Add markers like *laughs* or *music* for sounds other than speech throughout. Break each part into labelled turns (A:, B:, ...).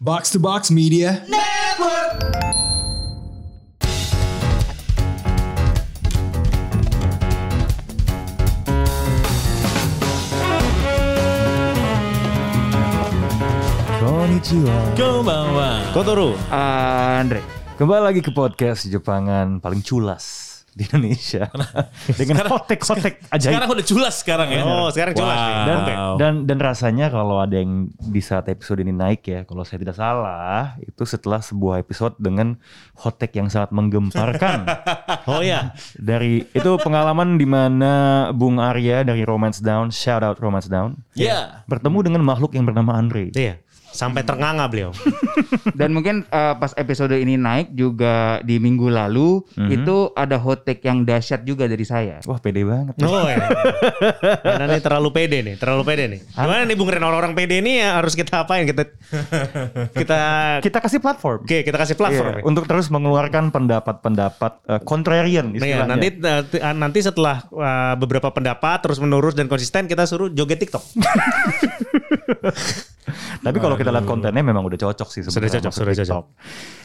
A: Box to Box Media.
B: Konnichiwa Totoro
C: Andre. Kembali lagi ke podcast Jepangan paling culas di
B: *laughs*
C: Indonesia. Dengan kotek-kotek ajaib.
B: Sekarang udah culas sekarang ya.
D: Oh, sekarang culas nih.
B: Wow.
C: Dan, dan dan rasanya kalau ada yang di saat episode ini naik ya, kalau saya tidak salah, itu setelah sebuah episode dengan hotek yang sangat menggemparkan.
B: *laughs* oh ya.
C: dari itu pengalaman di mana Bung Arya dari Romance Down, shout out Romance Down,
B: Ya.
C: bertemu dengan makhluk yang bernama Andre.
D: Iya. Sampai ternganga beliau.
E: Dan mungkin eh, pas episode ini naik juga di minggu lalu itu ada hot take yang dahsyat juga dari saya.
C: Wah, pede banget.
D: Oh ya. Karena nih terlalu pede nih, terlalu pede nih. Gimana nih Bung Ren orang-orang pede nih ya harus kita apain kita kita
C: Kita kasih platform.
D: Oke, kita kasih platform. ya.
C: Iya,
D: nih.
C: untuk terus mengeluarkan pendapat-pendapat eh, contrarian
D: Nih,
C: istilahnya.
D: ya, nanti nanti- nanti setelah uh, beberapa pendapat terus menurut dan konsisten kita suruh joget TikTok.
C: Tapi kalau kita lihat kontennya memang udah cocok sih
D: Sudah
C: sebenarnya
D: cocok,
C: sama
D: sudah
C: TikTok.
D: cocok.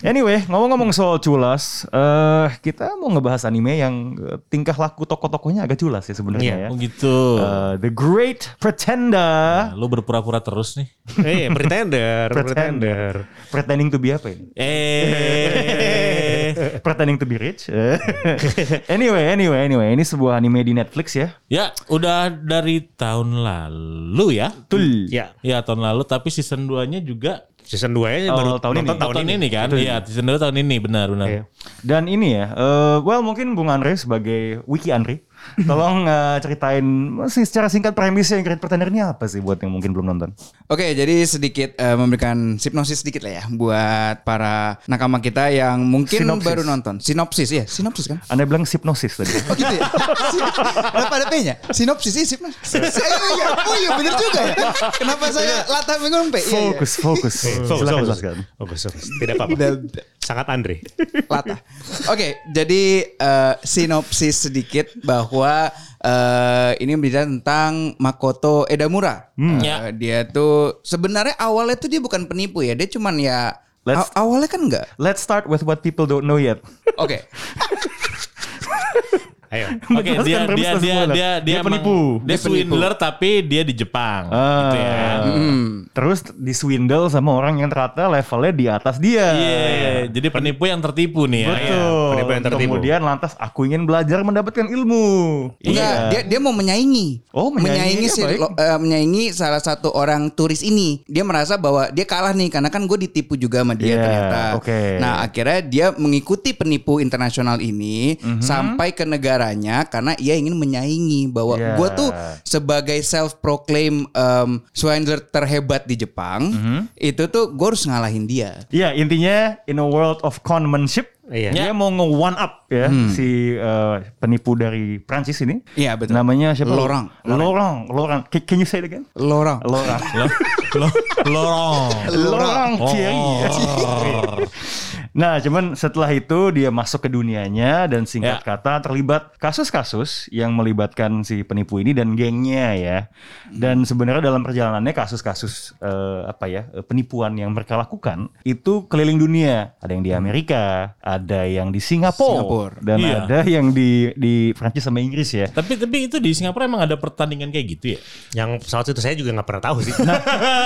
C: Anyway, ngomong-ngomong soal culas, eh kita mau ngebahas anime yang eh, tingkah laku tokoh-tokohnya agak culas ya
D: Iya,
C: sebenarnya ya.
B: Oh gitu.
C: Eh, The Great Pretender.
B: Nah, lu berpura-pura terus nih.
C: *laughs*
D: Eh, pretender, pretender.
C: Pretending to be apa ini?
B: Eh.
C: Pretending to be rich. *laughs* Eh. anyway, anyway, anyway, ini sebuah anime di Netflix ya.
B: ya, udah dari tahun lalu ya.
C: Tul.
D: Ya,
B: Ya, tahun lalu tapi season 2-nya juga
D: season 2 nya
C: Awal
D: baru
C: tahun ini.
D: nonton
B: tahun, ini, kan. Iya, season 2 tahun ini benar benar.
D: Iya.
C: Dan ini ya, eh, well mungkin Bung Andre sebagai Wiki
B: *laughs*
C: Andre, tolong eh, ceritain sih secara singkat premisnya yang Great Pretender ini apa sih buat yang mungkin belum nonton?
F: Oke, jadi sedikit eh, memberikan hipnosis sedikit lah ya buat para nakama kita yang mungkin
C: Sinopsis.
F: baru nonton. Sinopsis ya, sinopsis kan?
C: Anda bilang hipnosis
B: *laughs*
C: tadi.
F: Oh gitu ya. Sin- Kenapa ada P-nya? Sinopsis sih, sinopsis. Saya iya, oh iya bener juga ya. Kenapa saya latah bingung P? Iya, iya.
C: Fokus, fokus.
D: Fokus,
C: Silakan
D: fokus.
C: jelaskan.
D: Fokus, fokus. oh. Tidak apa-apa. Sangat Andre.
F: Lata. Oke, jadi eh, sinopsis sedikit bahwa eh, ini berita tentang Makoto Edamura. Eh,
B: Ya.
F: Dia tuh sebenarnya awalnya tuh dia bukan penipu ya, dia cuman ya
C: Let's-
F: aw- awalnya kan enggak.
C: Let's start with what people don't know yet.
F: Oke.
D: Ayo.
C: *laughs*
B: Oke,
C: Menjelaskan
B: dia,
C: kan premis
B: dia,
C: dan
B: dia,
C: spoiler.
B: dia, dia,
C: Dia penipu.
B: emang- Dia, swindler tapi dia di Jepang. gitu ya.
C: Ah. Terus diswindle sama orang yang ternyata levelnya di atas dia.
B: Iya, jadi penipu yang tertipu nih ya.
C: Betul.
D: Iya, penipu yang tertipu.
C: Kemudian lantas aku ingin belajar mendapatkan ilmu.
B: Iya.
F: Enggak, dia dia mau menyaingi.
C: Iya. Oh, menyaingi,
F: menyaingi
C: ya,
F: si-
C: baik.
F: lo- eh, menyaingi salah satu orang turis ini. Dia merasa bahwa dia kalah nih karena kan gue ditipu juga sama
C: Yeah,
F: dia ternyata.
C: Iya, oke.
F: Nah, akhirnya dia mengikuti penipu internasional ini
C: Mhm.
F: sampai ke negaranya karena ia ingin menyaingi bahwa
C: Yeah.
F: gue tuh sebagai self proclaim swindler terhebat di Jepang,
C: Mhm.
F: itu tuh gue harus ngalahin dia.
C: Iya intinya in a world of conmanship
D: Iya.
C: dia mau nge one up ya si uh, penipu dari Prancis ini.
F: Iya, betul.
C: Namanya siapa?
F: Laurent.
C: Lorang. Lorang. Can, can you say it again?
F: Lorang.
C: Lorang.
B: Lo- Lorong.
C: Lorang
B: Oh.
C: Thierry. Nah, cuman setelah itu dia masuk ke dunianya dan singkat
B: Ya.
C: kata terlibat kasus-kasus yang melibatkan si penipu ini dan gengnya ya. Dan sebenarnya dalam perjalanannya kasus-kasus eh, apa ya eh, penipuan yang mereka lakukan itu keliling dunia. Ada yang di Amerika, ada yang di Singapura,
F: Singapura.
C: dan
B: Iya.
C: ada yang di di Prancis sama Inggris ya.
B: Tapi tapi itu di Singapura emang ada pertandingan kayak gitu ya?
D: Yang pesawat itu saya juga nggak pernah tahu sih.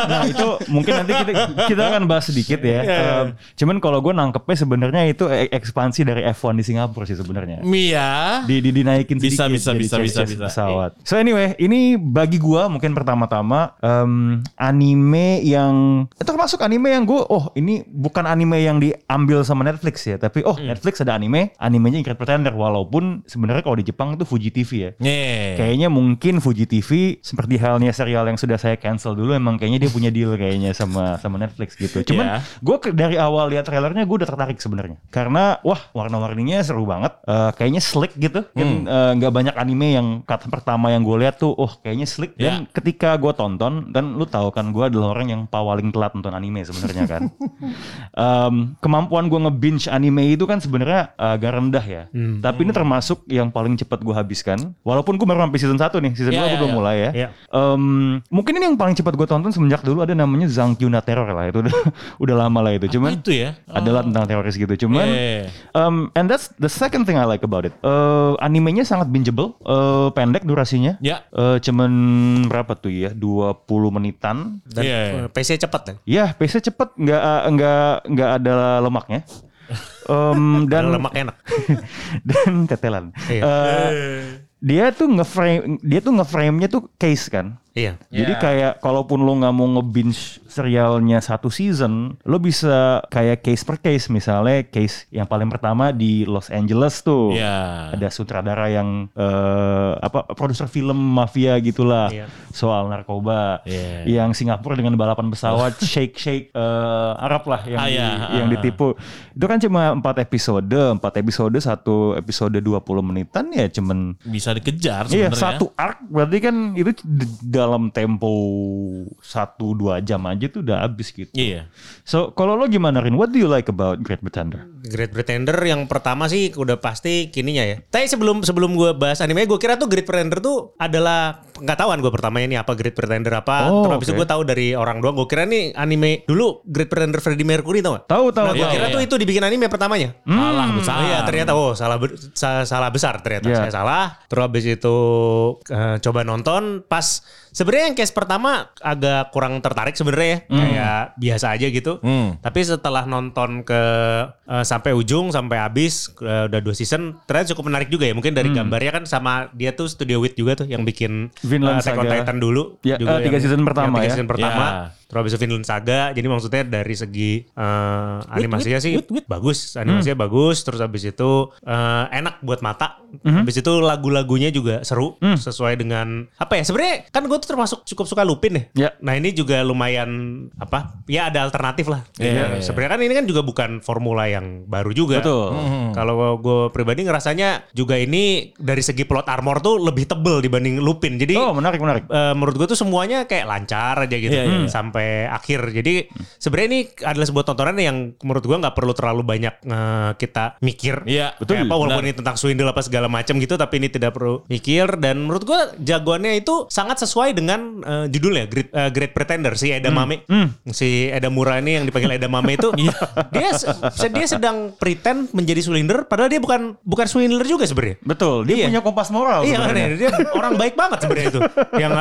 C: nah itu mungkin nanti kita kita akan bahas sedikit
B: Iya,
C: ya. Um, cuman kalau gue nangkepnya sebenarnya itu e- ekspansi dari F1 di Singapura sih sebenarnya.
B: Mia.
C: Iya. Di, di dinaikin
B: Bisa,
C: sedikit
B: bisa,
C: jadi
B: bisa, bisa,
C: chassis
B: bisa.
C: pesawat. So anyway, ini bagi gua mungkin pertama-tama em, anime yang termasuk anime yang gue oh ini bukan anime yang diambil sama Netflix ya, tapi
B: Hmm.
C: oh Netflix ada anime, animenya Incredible Pretender walaupun sebenarnya kalau di Jepang itu Fuji TV ya.
B: Nih.
C: Kayaknya mungkin Fuji TV seperti halnya serial yang sudah saya cancel dulu emang kayaknya dia punya deal kayaknya sama sama Netflix gitu.
B: Iya.
C: Cuman gue dari awal lihat trailernya gue udah tertarik sebenarnya karena wah warna-warninya seru banget. Eh, kayaknya slick gitu. Kan
B: Hmm.
C: eh, nggak banyak anime yang kata pertama yang gue lihat tuh oh kayaknya slick dan
B: Iya.
C: ketika gue tonton dan lu tahu kan gue adalah *laughs* orang yang paling telat nonton anime sebenarnya kan. Em, kemampuan gue nge-binge anime itu kan sebenarnya agak rendah ya.
D: Hmm.
C: Tapi ini termasuk yang paling cepat gue habiskan. Walaupun gue baru sampai season 1 nih, season 2
B: Iya,
C: gue
B: iya,
C: belum
B: iya.
C: mulai ya.
D: Iya.
C: Em, mungkin ini yang paling cepat gue tonton semenjak dulu ada namanya Zangkyuna Terror lah itu udah, *laughs* udah lama lah itu. Cuman
B: itu ya? Oh.
C: adalah tentang teroris gitu. Cuman
B: Iya, iya, iya.
C: Um, and that's the second thing I like about it. Uh, animenya sangat bingeable, uh, pendek durasinya.
B: Ya.
C: Uh, cuman berapa tuh ya? 20 menitan.
D: Dan
B: Iya, iya.
D: eh, PC cepat kan?
C: Ya, pace cepet, nggak uh, nggak nggak ada lemaknya. Um, dan
D: lemak enak.
C: *laughs* dan tetelan.
D: Iya.
C: Uh, dia tuh ngeframe dia tuh ngeframe-nya tuh case kan.
D: Iya.
C: Jadi kayak kalaupun lo nggak mau nge-binge serialnya satu season, lo bisa kayak case per case. Misalnya case yang paling pertama di Los Angeles tuh.
B: Ya.
C: Ada sutradara yang eh, apa produser film mafia gitulah
D: Iya.
C: soal narkoba.
B: Iya.
C: Yang Singapura dengan balapan
B: *laughs*
C: pesawat shake shake Arab lah yang
B: Ah,
C: di-
B: iya.
C: yang
B: Ah.
C: ditipu. Itu kan cuma empat episode, empat episode satu episode 20 menitan ya cuman
B: Bisa dikejar
C: Iya
B: sebenarnya.
C: satu arc berarti kan itu d- dalam tempo satu dua jam aja tuh udah habis gitu.
B: Iya.
C: So kalau lo gimana Rin? What do you like about Great Pretender?
D: Great Pretender yang pertama sih udah pasti kininya ya. Tapi sebelum sebelum gue bahas anime, gue kira tuh Great Pretender tuh adalah pengetahuan gue pertamanya ini apa Great Pretender apa.
C: Oh,
D: Terus habis
C: oke.
D: itu gue tahu dari orang doang. Gue kira nih anime dulu Great Pretender Freddie Mercury tau gak?
C: Tahu tahu
D: Nah, gue
C: tahu.
D: kira
B: iya.
D: tuh itu dibikin anime pertamanya.
C: Hmm.
B: Salah besar.
D: Oh iya ternyata oh salah ber- sa- salah besar ternyata
C: Iya.
D: saya salah. Terus habis itu eh, coba nonton pas sebenarnya yang case pertama agak kurang tertarik sebenarnya ya.
C: Hmm.
D: Kayak biasa aja gitu.
B: Hmm.
D: Tapi setelah nonton ke eh, sampai ujung sampai habis eh, udah dua season ternyata cukup menarik juga ya. Mungkin dari
C: Hmm.
D: gambarnya kan sama dia tuh Studio Wit juga tuh yang bikin
C: Vinland
D: eh, Attack on
C: Saga.
D: Titan dulu
C: Ya,
D: juga
C: eh, tiga season pertama
D: tiga
C: ya.
D: season pertama.
B: Ya.
D: Terus habis itu Vinland Saga. Jadi maksudnya dari segi eh, animasinya sih bagus, animasinya
C: Hmm.
D: bagus. Terus habis itu eh, enak buat mata.
C: Hmm.
D: Habis itu lagu-lagunya juga seru sesuai dengan apa ya? Sebenarnya kan gue tuh termasuk cukup suka Lupin deh.
C: Ya.
D: Nah, ini juga lumayan apa? Ya ada alternatif lah. Ya,
B: Iya.
D: Sebenarnya kan ini kan juga bukan formula yang baru juga.
C: Betul.
D: Kalau gue pribadi ngerasanya juga ini dari segi plot armor tuh lebih tebel dibanding Lupin. Jadi
C: Oh menarik menarik.
D: Eh, menurut gue tuh semuanya kayak lancar aja gitu
B: Iya, iya, iya.
D: sampai akhir. Jadi sebenarnya ini adalah sebuah tontonan yang menurut gue nggak perlu terlalu banyak eh, kita mikir.
B: Iya,
D: betul.
C: betul.
D: apa walaupun
B: Benar.
D: ini tentang swindle apa segala macam gitu, tapi ini tidak perlu mikir. Dan menurut gue jagoannya itu sangat sesuai dengan eh, judulnya Great, eh, Great Pretender si
B: Hmm,
D: Edamame, si Edamura ini yang dipanggil Edamame
B: *laughs*
D: itu
B: Iya.
D: dia se- dia sedang pretend menjadi swindler, padahal dia bukan bukan swindler juga sebenarnya.
C: Betul. Dia
D: Iya.
C: punya kompas moral.
D: Iya kan
C: sebenarnya.
D: ya, dia orang baik banget sebenarnya itu. Yang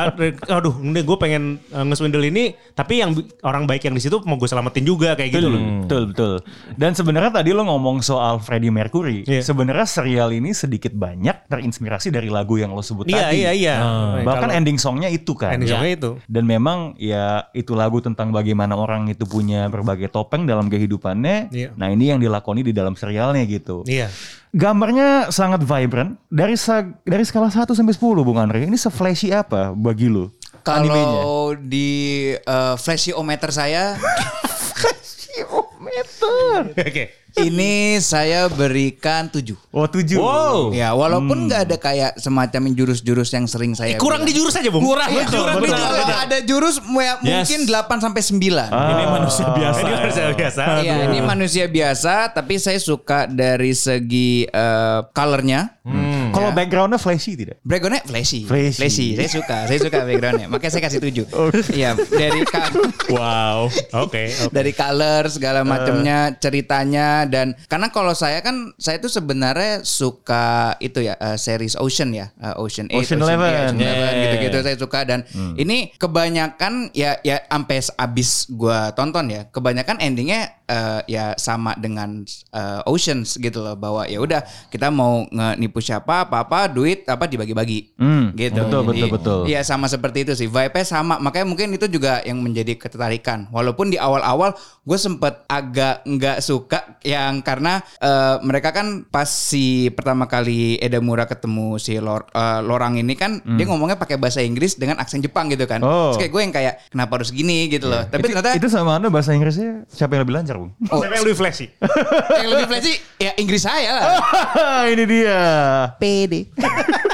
D: aduh, ini gue pengen uh, ngeswindle ini, tapi yang bi- orang baik yang di situ mau gue selamatin juga kayak gitu
C: Betul,
D: loh.
C: betul, betul. Dan sebenarnya tadi lo ngomong soal Freddie Mercury.
D: Iya.
C: Sebenarnya serial ini sedikit banyak terinspirasi dari lagu yang lo sebut
D: Iya,
C: tadi.
D: iya, iya.
C: Hmm. Bahkan
D: Kalau-
C: ending songnya itu kan.
D: Ending
C: Ya.
D: songnya itu.
C: Dan memang ya itu lagu tentang bagaimana orang itu punya berbagai topeng dalam kehidupannya.
D: Iya.
C: Nah ini yang dilakoni di dalam serialnya gitu.
D: Iya.
C: Gambarnya sangat vibrant. Dari sa- dari skala 1 sampai 10 Bung Andre, ini se-flashy apa bagi lo? animenya?
F: Kalau di eh, flashiometer
D: *laughs*
F: saya
D: Oke.
F: ini saya berikan 7.
C: Oh 7.
B: Wow.
D: Eh,
F: Ya, walaupun nggak ada kayak semacam jurus-jurus yang sering saya
D: Hmm. Eh, Kurang di
F: bilang.
D: jurus aja, Bung. Kurang
F: Iya,
D: jurus.
F: tapi
D: betul,
F: kalau
D: betul.
F: ada jurus mu- mungkin 8 sampai 9.
B: Ini
C: Ah,
B: manusia biasa.
D: Ini harus biasa.
F: Iya, ini manusia biasa tapi saya suka dari segi eh, colornya.
D: Hmm.
C: Kalau backgroundnya flashy tidak?
F: Backgroundnya flashy.
C: Flashy.
F: Saya suka, saya suka backgroundnya. Makanya saya kasih tujuh.
D: Oh.
F: Iya, dari ka-
D: *laughs*
B: Wow.
D: Oke. oke.
F: dari color segala
C: Eh.
F: macamnya, ceritanya dan karena kalau saya kan saya tuh sebenarnya suka itu ya eh, series Ocean ya, eh, Ocean 8,
C: Ocean Hmm. 11,
F: Eleven,
B: yeah.
F: gitu-gitu saya suka dan ini kebanyakan ya ya sampai abis gua tonton ya, kebanyakan endingnya eh, ya sama dengan eh, Oceans gitu loh bahwa ya udah kita mau nipu siapa apa-apa duit apa dibagi-bagi
C: Hmm,
F: gitu.
C: betul,
F: Jadi,
C: betul, betul.
F: Iya sama seperti itu sih. Vibe-nya sama. Makanya mungkin itu juga yang menjadi ketertarikan. Walaupun di awal-awal gue sempet agak nggak suka yang karena eh, mereka kan pas si pertama kali Edamura ketemu si Lor- eh, Lorang ini kan dia ngomongnya pakai bahasa Inggris dengan aksen Jepang gitu kan.
C: Hmm. Oh. Iya.
F: Terus kayak gue yang kayak kenapa harus gini gitu loh. Tapi
C: Itu-
F: ternyata
C: itu sama anda bahasa Inggrisnya siapa yang lebih lancar bung?
F: Oh,
D: Siapa yang lebih flashy?
C: Oh,
F: yang lebih flashy ya Inggris saya lah.
C: ini dia.
F: PD. Nah,
C: *laughs*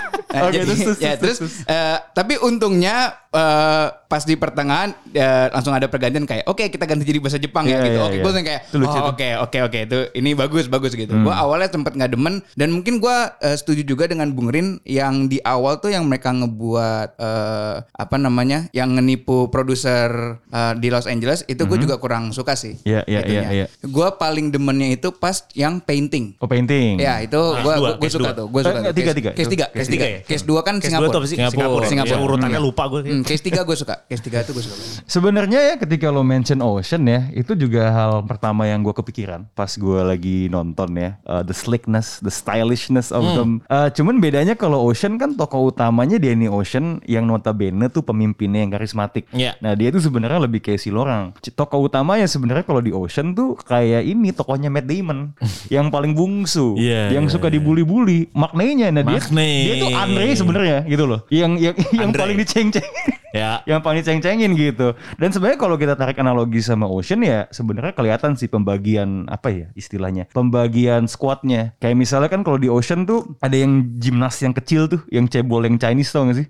C: Oke,
F: jadi-
C: terus, terus,
F: ya,
C: terus,
F: terus, eh, tapi untungnya eh, pas di pertengahan eh, langsung ada pergantian kayak oke kita ganti jadi bahasa Jepang
C: Iya,
F: ya gitu.
C: iya,
F: oke,
C: iya.
F: gue langsung kayak
C: Itu lucu
F: oh,
C: tuh. Hmm.
F: oke oke oke itu ini bagus bagus gitu. Gue awalnya sempat nggak demen dan mungkin gue eh, setuju juga dengan Bung Rin yang di awal tuh yang mereka ngebuat eh, apa namanya yang ngenipu produser eh, di Los Angeles itu gue juga kurang suka sih.
C: Hmm. Iya, iya,
F: itunya.
C: iya, iya.
F: Gue paling demennya itu pas yang painting.
C: Oh painting.
F: Ya itu gua
D: Ah, dua,
F: gua, gua
D: case
F: suka
D: dua.
F: tuh, gua suka.
C: Eh, enggak,
F: tuh.
C: tiga,
F: Case-
C: tiga.
F: Case tiga,
D: Case
F: case
D: tiga
F: tiga.
D: ya?
F: Case dua kan
D: Case dua
F: Singapura.
D: tuh apa sih? Singapura.
F: Singapura.
D: Ya, urutannya lupa gue.
F: Hmm, case tiga gue suka. Case tiga tuh gue suka. banget.
C: Sebenarnya ya ketika lo mention ocean ya, itu juga hal pertama yang gue kepikiran pas gue lagi nonton ya, Uh, the slickness, the stylishness
B: Hmm.
C: of them. Uh, cuman bedanya kalau ocean kan tokoh utamanya Danny Ocean yang notabene tuh pemimpinnya yang karismatik.
B: Iya.
C: Nah dia tuh sebenarnya lebih kayak si Lorang. C- Tokoh utamanya sebenarnya kalau di ocean tuh kayak ini tokohnya Matt
B: *laughs*
C: Damon yang paling bungsu,
B: Iya,
C: yang
B: iya,
C: suka dibully-bully. Maknanya, nah dia,
B: Makne.
C: dia tuh Andre sebenarnya gitu loh, yang yang *laughs* yang
D: Andre.
C: paling diceng-ceng *laughs*
B: Ya.
C: yang paling ceng-cengin gitu. Dan sebenarnya kalau kita tarik analogi sama Ocean ya sebenarnya kelihatan sih pembagian apa ya istilahnya pembagian squadnya. Kayak misalnya kan kalau di Ocean tuh ada yang gimnas yang kecil tuh, yang cebol yang Chinese tau gak sih?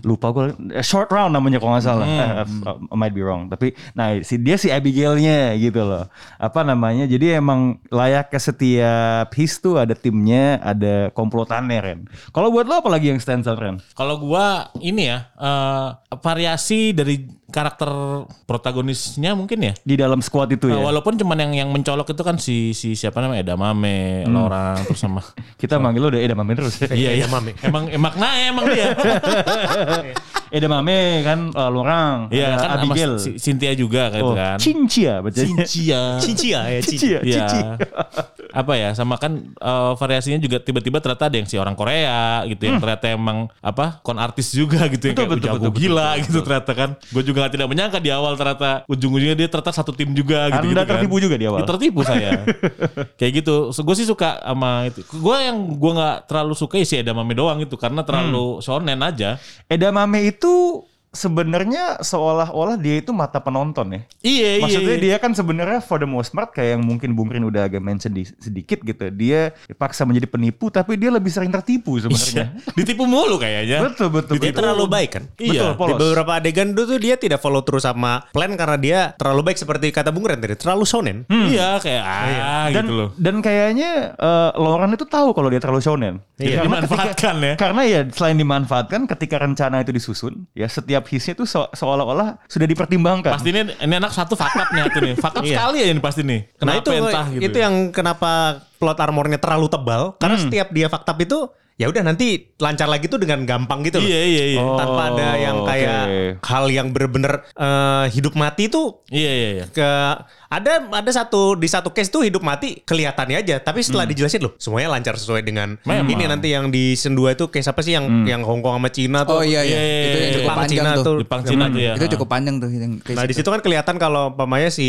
C: Lupa gue eh, short round namanya kalau nggak salah. Eh, eh, I might be wrong. Tapi nah si dia si Abigailnya gitu loh. Apa namanya? Jadi emang layak ke setiap his tuh ada timnya, ada komplotannya Ren. Kalau buat lo apalagi yang stand out Ren?
B: Kalau gua ini ya eh, variasi dari karakter protagonisnya mungkin ya.
C: Di dalam squad itu
D: Oh,
C: ya.
D: iya.
B: Nah, walaupun cuman yang yang mencolok itu kan si si siapa namanya Edamame,
D: Hmm.
B: Lorang terus sama
D: *laughs*
C: Kita manggil lo udah Edamame terus.
B: *laughs* Iya, iya.
D: Edamame.
B: Emang emang nah emang
D: *laughs*
B: dia.
C: Edamame kan uh, Lorang,
B: Iya
C: ada
B: kan sama
C: Abigail.
B: si- Cynthia juga kan
C: oh,
B: itu kan.
C: Cincia bacanya.
B: Cynthia.
D: Cici ya, ya Cici.
C: *laughs* Cincia,
B: Iya.
C: Cici.
B: apa ya sama kan eh, variasinya juga tiba-tiba ternyata ada yang si orang Korea gitu yang ternyata emang apa kon artis juga gitu yang
C: Hmm. Betul,
B: kayak
C: betul,
B: jago
C: betul, betul,
B: gila gitu ternyata kan gue juga gak tidak menyangka di awal ternyata ujung-ujungnya dia ternyata satu tim juga gitu
C: Anda tertipu juga di awal.
B: Ya, tertipu
C: *laughs*
B: saya kayak gitu so, gue sih suka sama itu gue yang gue nggak terlalu suka ya si Edamame doang gitu
C: Hmm.
B: karena terlalu shonen aja
C: Edamame itu sebenarnya seolah-olah dia itu mata penonton ya.
B: iya
C: Maksudnya
B: iya.
C: dia kan sebenarnya for the most part kayak yang mungkin Bung Rin udah agak mention di- sedikit gitu. Dia dipaksa menjadi penipu tapi dia lebih sering tertipu
B: Iya.
C: sebenarnya.
B: ditipu mulu kayaknya
C: *laughs* Betul betul.
D: Dia
C: betul.
D: terlalu baik kan?
C: Betul,
B: Iya,
D: Di
C: polos.
D: beberapa adegan dulu tuh dia tidak follow through sama plan karena dia terlalu baik seperti kata Bung Ren tadi, terlalu shonen.
B: iya kayak ah
C: dan,
B: gitu loh
C: dan kayaknya eh, Lauren itu tahu kalau dia terlalu shonen.
B: Iya,
C: Karena
B: dimanfaatkan
C: ketika-
B: ya.
C: Karena ya selain dimanfaatkan ketika rencana itu disusun, ya setiap hisnya itu so- seolah-olah sudah dipertimbangkan.
B: Pasti ini, ini anak satu fakap nih tuh nih. Fakap
D: Iya.
B: sekali ya ini pasti nih.
D: Nah
B: Kenapa
D: itu
B: entah gitu. Hmm.
D: itu yang kenapa plot armornya terlalu tebal karena setiap dia faktab itu ya udah nanti lancar lagi tuh dengan gampang gitu loh.
B: Iya iya iya.
C: Oh,
D: Tanpa ada yang kayak
C: oke.
D: hal yang bener-bener eh, hidup mati tuh
B: Iya iya iya.
D: ke ada ada satu di satu case tuh hidup mati kelihatannya aja tapi setelah dijelasin loh semuanya lancar sesuai dengan
B: Hmm. Memang. Hmm.
D: ini nanti yang di Sendua itu case apa sih yang yang Hongkong sama Cina tuh
F: Oh iya iya.
B: Iya,
F: Itu yang
B: iya,
F: cukup
D: Jepang
F: panjang
D: Cina
F: tuh.
D: tuh
B: Jepang Cina tuh ya.
F: Itu cukup panjang tuh yang case
D: nah di
F: itu.
D: situ kan kelihatan kalau pamanya si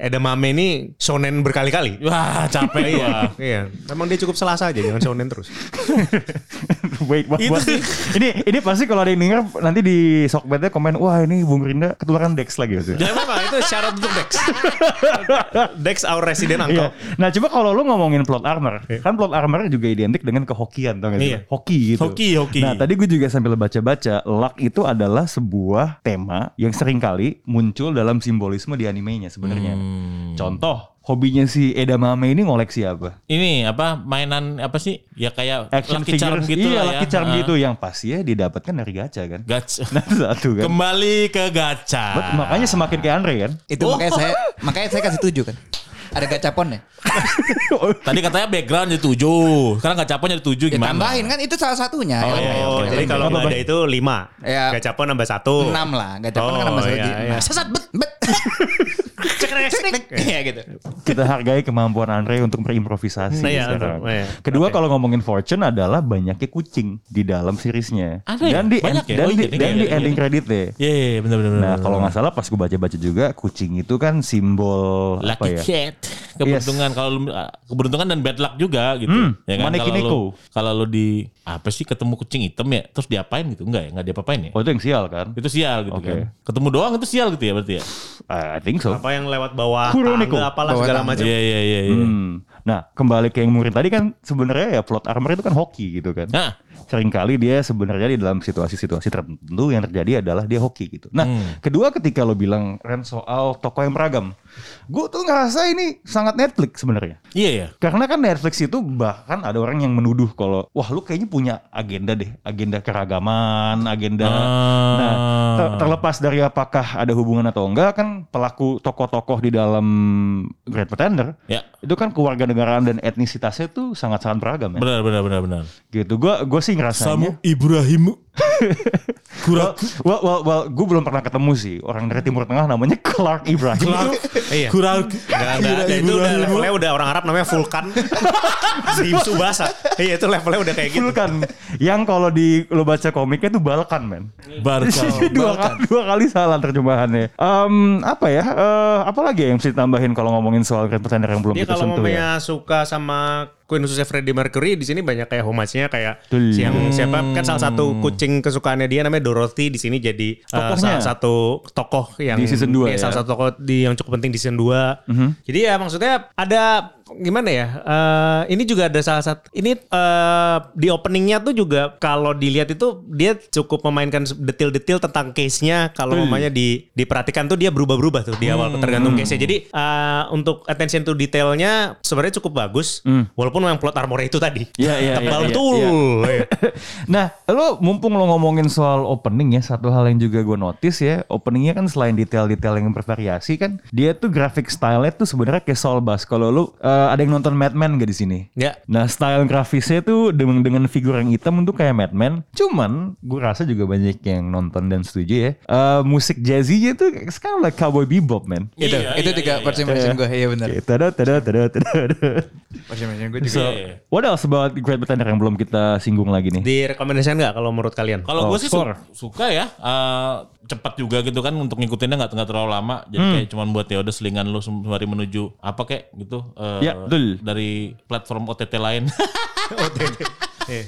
D: Edamame ini shonen berkali-kali
B: Wah capek
D: iya,
B: gua.
D: iya. Memang dia cukup selasa aja, jangan shonen terus.
C: *laughs* Wait, what,
B: Itu
C: what?
B: sih.
C: ini ini pasti kalau ada yang denger nanti di sokbetnya komen, wah ini Bung Rinda ketularan Dex lagi. Gitu.
D: ya memang itu syarat untuk Dex. *laughs* Dex our resident
C: Iya.
D: uncle.
C: Nah coba kalau lu ngomongin plot armor,
B: Iya.
C: kan plot armor juga identik dengan kehokian, tau gak sih?
D: Iya.
C: Hoki gitu.
B: Hoki, hoki.
C: Nah tadi gue juga sambil baca-baca, luck itu adalah sebuah tema yang seringkali muncul dalam simbolisme di animenya sebenarnya.
B: Hmm.
C: Contoh, hobinya si Edamame ini ngoleksi apa?
B: Ini apa mainan apa sih? Ya kayak
C: Action
B: lucky charm
C: figures.
B: gitu
C: iya,
B: lah ya.
C: lucky charm
B: Ah.
C: gitu yang pasti ya didapatkan dari gacha kan.
B: Gacha.
C: *laughs* Nah itu satu kan.
B: Kembali ke gacha.
C: Bet- Makanya semakin kayak Andre kan.
F: Itu makanya saya makanya saya kasih tujuh kan. Ada gacapon ya.
B: Tadi katanya background jadi tujuh. Sekarang gacaponnya jadi tujuh
F: Ya
B: gimana?
F: tambahin kan itu salah satunya.
D: Oh,
F: elemen.
D: jadi kalau nggak ada itu lima.
F: Iya.
D: Gacapon nambah satu.
F: enam lah, gacapon kan
D: Oh,
F: sama
D: iya, iya.
F: Sesat bet bet.
D: Cekrek, cekrek.
F: Iya gitu.
C: kita hargai kemampuan Andre untuk berimprovisasi
D: Nah, iya,
C: sekarang.
D: betul. Iya.
C: Kedua
D: Oke.
C: kalau ngomongin Fortune adalah banyaknya kucing di dalam seriesnya.
B: Ada ya?
C: Dan di
B: Banyak ya?
C: dan
B: Oh,
C: di,
B: iya, iya,
C: dan di
B: iya, iya.
C: ending kreditnya.
B: Iya iya iya, bener bener. bener,
C: Nah
B: bener.
C: kalau nggak salah pas gue baca-baca juga kucing itu kan simbol apa
B: Lucky
C: ya?
B: cat keberuntungan kalau lu- ah, keberuntungan dan bad luck juga gitu
C: Hmm,
B: ya kan
C: Maneki
B: kalau
C: Neko.
B: lu kalau lu di apa sih ketemu kucing hitam ya terus diapain gitu enggak ya enggak diapain ya
C: Oh itu yang sial kan?
B: itu sial gitu
C: Oke.
B: kan ketemu doang itu sial gitu ya berarti ya
C: I think so.
D: Apa yang lewat bawah
C: Kuroneko.
D: tangga apalah
F: Bawah
D: segala
F: tangga.
D: macam.
B: iya iya iya iya
C: Hmm. Nah, kembali ke yang murid tadi kan sebenarnya ya plot armor itu kan hoki gitu kan.
B: Nah,
C: Seringkali dia sebenarnya di dalam situasi-situasi tertentu yang terjadi adalah dia hoki gitu. Nah,
B: Hmm.
C: kedua ketika lo bilang Ren soal tokoh yang beragam, gue tuh ngerasa ini sangat Netflix sebenarnya.
B: iya ya.
C: Karena kan Netflix itu bahkan ada orang yang menuduh kalau wah lu kayaknya punya agenda deh, agenda keragaman, agenda.
B: Ah.
C: Nah, ter- terlepas dari apakah ada hubungan atau enggak kan pelaku tokoh-tokoh di dalam Great Pretender
B: Ya,
C: itu kan kewarganegaraan dan etnisitasnya tuh sangat-sangat beragam ya.
B: benar benar benar benar.
C: gitu. Gua gua sih ngerasanya
B: Ibrahim
C: Well, well, well, well, gue belum pernah ketemu sih orang dari Timur Tengah namanya Clark Ibrahim.
D: Iya.
B: kurang
D: Enggak, enggak. Dan itu udah levelnya udah orang Arab namanya
C: *laughs*
D: Vulkan. di Subasa. Iya itu levelnya udah kayak gitu.
C: Vulkan yang kalau di lo baca komiknya tuh Balkan men. *laughs*
B: Barca.
C: dua, kali, dua kali salah terjemahannya. Em, apa ya? Eh, apa lagi yang mesti ditambahin kalau ngomongin soal Grand Pretender yang belum
D: Dia
C: kita
D: kalau
C: sentuh ya?
D: mamanya suka sama Queen khususnya Freddie Mercury di sini banyak kayak homage-nya kayak
C: Betul. Hmm.
D: si yang siapa kan salah satu kucing kesukaannya dia namanya Dorothy di sini jadi eh,
C: Tokohnya.
D: salah satu tokoh yang
C: Di season dua
D: iya,
C: ya.
D: salah satu tokoh di yang cukup penting di season 2.
C: Mhm.
D: Jadi ya maksudnya ada gimana ya? eh, ini juga ada salah satu ini eh, di openingnya tuh juga kalau dilihat itu dia cukup memainkan detil-detil tentang case-nya kalau
C: Hmm.
D: mamanya di diperhatikan tuh dia berubah-berubah tuh di awal tergantung case-nya. Jadi eh, untuk attention to detailnya sebenarnya cukup bagus walaupun memang plot armor itu tadi.
C: Hmm. Iya, iya, iya, iya,
D: Tebal betul.
C: Nah, lo mumpung lo ngomongin soal opening ya, satu hal yang juga gue notice ya, openingnya kan selain detail-detail yang bervariasi kan, dia tuh grafik style-nya tuh sebenarnya kayak Saul Bass. Kalau lo eh, ada yang nonton Mad Men gak di sini?
D: Ya.
C: Nah, style grafisnya tuh dengan dengan figur yang hitam tuh kayak Mad Men. Cuman gue rasa juga banyak yang nonton dan setuju ya. Eh, musik jazzy-nya tuh sekarang like Cowboy Bebop, man.
B: Iya,
F: Itu, itu tiga first impression gue. Iya benar.
C: Kayak tada, tada, tada, tada.
F: First
B: iya,
F: impression gue juga.
C: What else about Great Pretender yang belum kita singgung lagi nih?
D: Direkomendasikan nggak kalau menurut kalian?
B: Kalau
C: Oh,
B: gue sih su-
C: score.
B: suka ya, eh, cepat juga gitu kan untuk ngikutinnya nggak nggak terlalu lama. Jadi
C: Hmm.
B: kayak cuman buat ya udah selingan lu sembari menuju apa kayak gitu. eh,
C: Ya, betul.
B: Dari platform OTT lain. *laughs*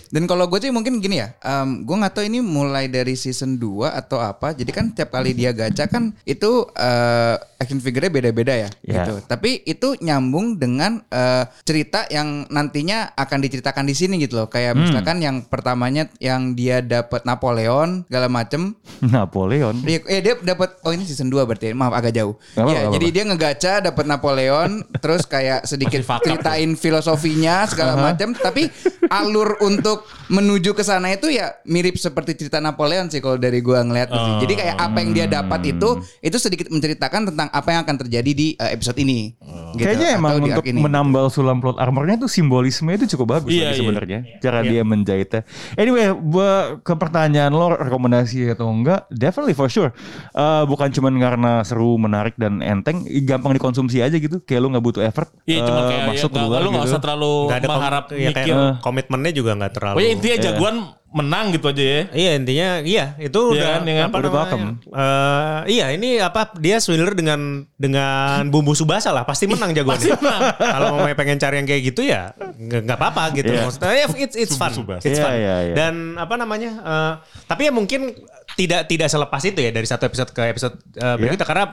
F: Dan kalau gue sih mungkin gini ya, em, gue nggak tahu ini mulai dari season 2 atau apa. Jadi kan tiap kali dia gacha kan itu eh, action figure-nya beda-beda ya,
C: Ya.
F: gitu. Tapi itu nyambung dengan eh, cerita yang nantinya akan diceritakan di sini gitu loh. Kayak misalkan yang pertamanya yang dia dapat Napoleon segala macem.
C: Napoleon.
F: Iya, eh, dia dapat oh ini season 2 berarti. Maaf agak jauh.
C: Gak apa-apa,
F: Iya,
C: gak
F: jadi dia ngegacha dapat
C: *laughs*
F: Napoleon terus kayak sedikit
B: Masih fuck up
F: ceritain filosofinya segala macam tapi alur untuk menuju ke sana itu ya mirip seperti cerita Napoleon sih kalau dari gua ngeliat
C: Oh.
F: sih. Jadi kayak apa yang dia dapat itu
C: Hmm.
F: itu sedikit menceritakan tentang apa yang akan terjadi di eh, episode ini. Gitu,
C: Kayaknya
F: atau
C: emang
F: di
C: untuk
F: arc ini.
C: menambal sulam plot armornya itu simbolisme itu cukup bagus
B: Iya,
C: lagi
B: iya.
C: sebenarnya cara dia menjahitnya. Anyway, gua ke pertanyaan lo rekomendasi atau enggak? Definitely for sure. Eh, bukan cuman karena seru, menarik dan enteng, gampang dikonsumsi aja gitu. Kayak lo nggak butuh effort.
B: Iya cuma
C: eh,
B: kayak ya,
C: masuk
B: nggak-
C: keluar
B: lu nggak
C: gitu.
B: usah terlalu
D: Nggak kom-
B: mengharap
D: ya, kayak
B: mikir.
D: komitmennya juga nggak terlalu.
B: Pokoknya intinya
C: Iya.
B: jagoan menang gitu aja ya.
D: Iya intinya iya itu
B: Iya
D: udah
B: kan, iya kan?
D: apa
C: Udah
D: namanya?
C: pakem.
D: Eh, iya ini apa dia sebenarnya dengan dengan bumbu subasa lah pasti menang jagoannya. *laughs* Kalau mau pengen cari yang kayak gitu ya nggak nggak apa-apa gitu. Maksudnya ya, it's it's fun. It's
C: Iya,
D: fun.
C: iya, iya.
D: Dan apa namanya? eh, tapi ya mungkin tidak tidak selepas itu ya dari satu episode ke episode eh, berikutnya karena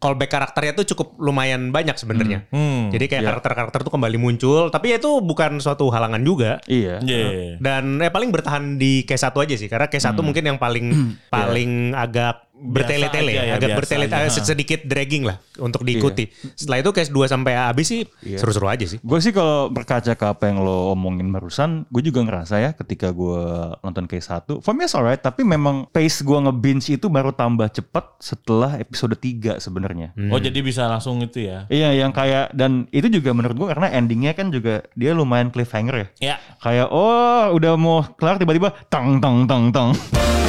D: callback karakternya tuh cukup lumayan banyak sebenarnya. Jadi kayak karakter-karakter tuh kembali muncul tapi ya itu bukan suatu halangan juga.
C: Iya.
B: Iya. Hmm.
D: Dan eh paling bertahan di K1 aja sih karena K1 mungkin yang paling paling agak bertele-tele,
B: Iya. aja ya,
D: agak
B: biasa
D: bertele
B: aja. Iya.
D: eh, sedikit dragging lah untuk diikuti. Setelah itu K2 sampai habis sih seru-seru aja sih.
C: Gue sih kalau berkaca ke apa yang lo omongin barusan, gue juga ngerasa ya ketika gue nonton K1, for me it's alright, tapi memang pace gue nge-binge itu baru tambah cepat setelah episode 3 sebenarnya.
B: Oh jadi bisa langsung itu ya.
C: Iya yang kayak dan itu juga menurut gua karena endingnya kan juga dia
D: Iya.
C: lumayan cliffhanger ya.
B: Ya.
C: Kayak oh udah mau kelar tiba-tiba tang tang tang tang.